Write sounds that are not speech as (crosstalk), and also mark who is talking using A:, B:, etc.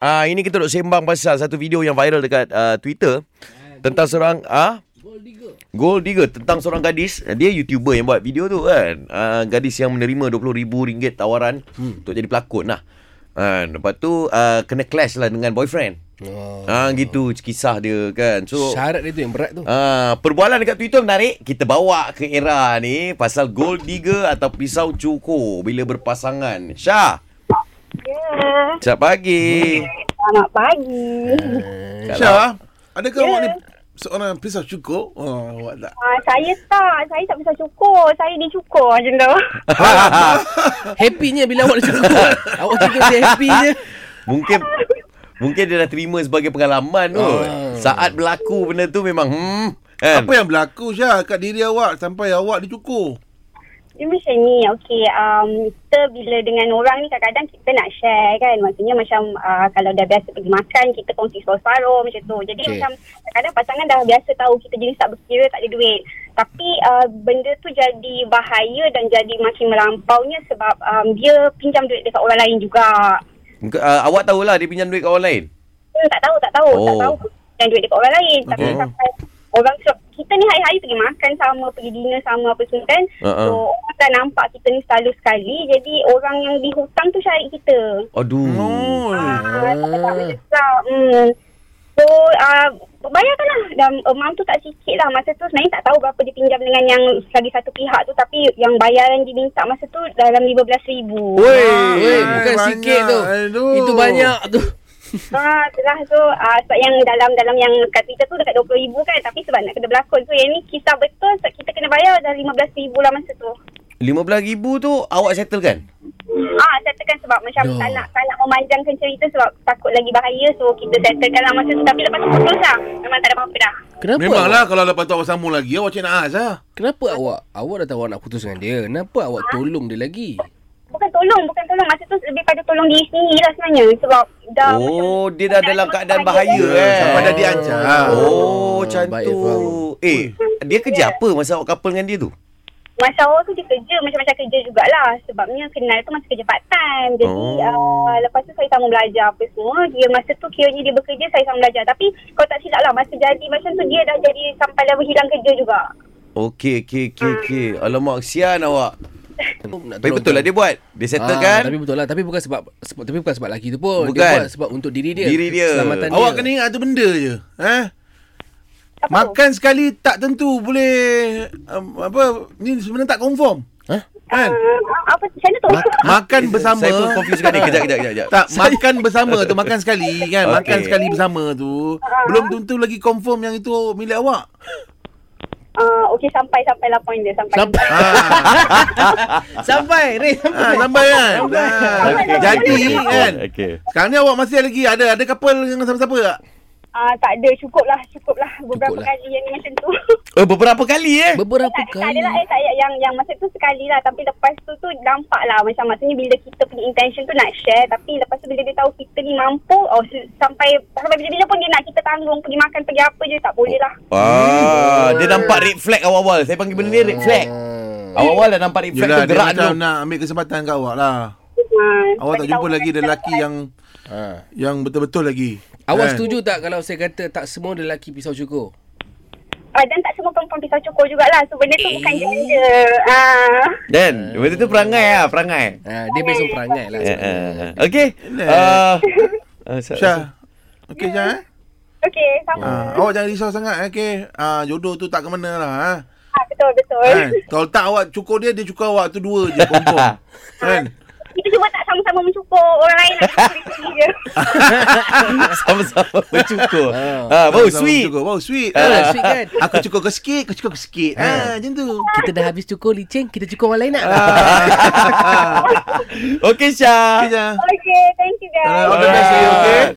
A: Ah ini kita duk sembang pasal satu video yang viral dekat uh, Twitter tentang seorang ah Gold Digger tentang seorang gadis Ah, dia YouTuber yang buat video tu kan uh, gadis yang menerima RM20,000 tawaran hmm. untuk jadi pelakon lah uh, lepas tu uh, kena clash lah dengan boyfriend
B: Oh.
A: ah gitu kisah dia kan so
B: Syarat dia tu yang berat tu.
A: Ah, perbualan dekat Twitter menarik. Kita bawa ke era ni pasal gold digger atau pisau cukur bila berpasangan. Syah,
C: Ya,
A: selamat pagi.
C: selamat pagi.
A: Kalau,
D: Syah, adakah awak ni seorang pisau cukur? Oh, awak tak.
C: Uh, saya tak, saya tak bisa cukur. Saya dicukur macam tu.
B: Happynya bila awak dah cukup.
A: (laughs)
B: awak cukup dia happy je.
A: mungkin mungkin dia dah terima sebagai pengalaman tu. Saat berlaku benda tu memang hmm kan.
D: Apa yang berlaku Syah kat diri awak sampai awak dicukur?
C: Dia macam ni, okay. Um, kita bila dengan orang ni kadang-kadang kita nak share kan. Maksudnya macam uh, kalau dah biasa pergi makan, kita kongsi separuh-separuh macam tu. Jadi
B: Okey.
C: okay. macam kadang-kadang pasangan dah biasa tahu kita jenis tak berkira, tak ada duit. Tapi uh, benda tu jadi bahaya dan jadi makin melampaunya sebab um, dia pinjam duit dekat orang lain juga.
A: Uh, awak tahulah dia pinjam duit kat orang lain.
C: Hmm, tak tahu, tak tahu, oh. tak
A: Oh.
C: tahu. Dan duit dekat orang lain. Tapi
A: Okay.
C: sampai orang sebab kita ni hari-hari pergi makan sama, pergi dinner sama apa semua kan.
A: Uh-uh.
C: So orang akan nampak kita ni selalu sekali. Jadi orang yang dihutang tu cari kita.
A: Aduh.
D: Oh.
C: Ah, tak tak macam tu. Hmm. So uh, bayarkanlah dan amount tu tak sikit lah masa tu sebenarnya tak tahu berapa dia pinjam dengan yang lagi satu pihak tu tapi yang bayaran dia minta masa tu dalam RM15,000
A: Woi.
B: Ah, Weh, bukan
D: banyak.
B: sikit tu.
D: Aduh.
B: Itu banyak tu.
C: Ah, itulah tu ah, sebab yang dalam dalam yang kat Twitter tu dekat RM20,000 kan tapi sebab nak kena berlakon tu yang ni kisah betul sebab kita kena bayar dah RM15,000 lah masa tu.
A: RM15,000 tu awak kan? settlekan?
C: Ah, settlekan sebab macam
B: Duh.
C: tak nak tak nak memanjangkan cerita sebab takut lagi bahaya so kita settlekan lah masa tu tapi lepas tu putus lah memang tak ada apa-apa dah.
B: Kenapa?
D: Memanglah kalau lepas tu awak sambung lagi awak cakap nak ah, Syah.
B: Kenapa awak? Awak dah tahu awak nak putus dengan dia. Kenapa awak tolong dia lagi?
C: Bukan tolong, bukan tolong. Masa tu lebih pada tolong diri sendiri lah sebenarnya sebab dah
A: Oh, dia dah dalam keadaan bahaya
C: kan.
A: kan.
D: Sampai dah diancam.
A: Oh, macam
B: Baik,
A: tu.
B: faham.
A: Eh, dia kerja apa masa awak couple dengan dia tu?
C: Masa awal tu dia kerja macam-macam kerja jugalah sebabnya kenal tu masa kerja part time jadi
A: Oh.
C: oh. uh, lepas tu saya sama belajar apa semua dia masa tu kiranya dia bekerja saya sama belajar tapi kalau tak silap lah masa jadi macam tu dia dah jadi sampai level hilang kerja juga
A: Okey, okey, okey, okey. Alamak, sian awak.
B: Nak
A: Tapi betul lah dia buat. Dia settle
B: Ah,
A: kan?
B: Tapi betul lah. Tapi bukan sebab, sebab tapi bukan sebab lelaki tu pun.
A: Bukan.
B: Dia buat sebab untuk diri dia.
A: Diri dia.
B: Keselamatan dia.
D: Awak kena ingat tu benda je. Eh?
C: Apa tu?
D: Makan sekali tak tentu boleh um, apa ni sebenarnya tak konform.
B: Hah?
D: Kan?
C: Hmm, apa macam mana tu
D: Ma-
C: (laughs)
D: makan Kan bersama.
A: Saya pun confused kan ni. Kejap, kejap, kejap, kejap.
D: Tak, makan bersama tu makan sekali kan.
A: (laughs) Okey.
D: Makan sekali bersama tu belum tentu lagi confirm yang itu milik awak.
C: uh, okey sampai sampailah point dia sampai
B: Sampai.
A: Ah.
B: sampai. Ray, sampai.
D: Ha, sampai kan. Ha,
C: Okey.
D: jadi kan.
A: Okey.
D: Sekarang ni awak masih lagi ada ada couple dengan siapa-siapa tak?
C: uh, tak ada cukup lah cukup lah beberapa
B: Cukup lah.
C: kali yang ni macam tu (laughs)
A: Eh, beberapa kali eh?
B: Beberapa
C: tak,
D: kan?
C: tak
B: kali.
C: ada lah eh tak yang yang masa tu sekali lah tapi lepas tu tu nampak lah macam maksudnya bila kita punya intention tu nak share tapi lepas tu bila dia tahu kita ni mampu oh se- sampai sampai bila-bila pun dia nak kita tanggung pergi makan pergi apa je tak boleh lah
A: Ah, dia nampak red flag awal-awal. Saya panggil benda ni red flag. Awal-awal dah nampak red flag
D: Yelah,
A: tu
D: dia
A: gerak
D: macam
A: dulu.
D: nak ambil kesempatan kat awak lah.
C: uh,
D: Awak tak jumpa lagi ada lelaki yang
B: Ha.
D: yang betul-betul lagi.
B: Awak
A: Eh.
D: Kan?
B: setuju tak kalau saya kata tak semua lelaki pisau cukur?
C: uh, dan tak semua perempuan pisau cukur jugalah so benda tu
D: Eh.
C: bukan gender uh,
A: Dan, benda tu perangai lah, perangai.
B: Ha, dia based on perangai lah.
A: Eh,
B: sebenarnya.
A: eh, eh. Okey.
D: Relax.
A: Ah, ah, (laughs) sa-
D: Syah. Okey Syah eh.
C: okay sama uh.
D: Ha, awak jangan risau sangat eh, okey. Ha, jodoh tu tak ke mana lah ha.
C: betul betul
D: Kan? Kalau tak awak cukur dia, dia cukur awak tu dua je confirm. kan?
C: kita cuma tak sama-sama mencukur orang lain
D: (laughs)
C: nak cukur sendiri je
A: Sama-sama bercukur.
B: Ah.
A: Ah, bau
D: Sama-sama
A: sweet.
D: Cukur. Bau sweet.
B: Ah,
D: Ha.
B: sweet kan?
D: Aku cukur kau sikit, kau cukur kau sikit. Ha, macam tu.
B: Kita dah habis cukur licin, kita cukur orang lain nak.
A: Okey, Syah.
D: Okey Syah.
C: okay thank you guys
D: Ah, All the best to you, okay?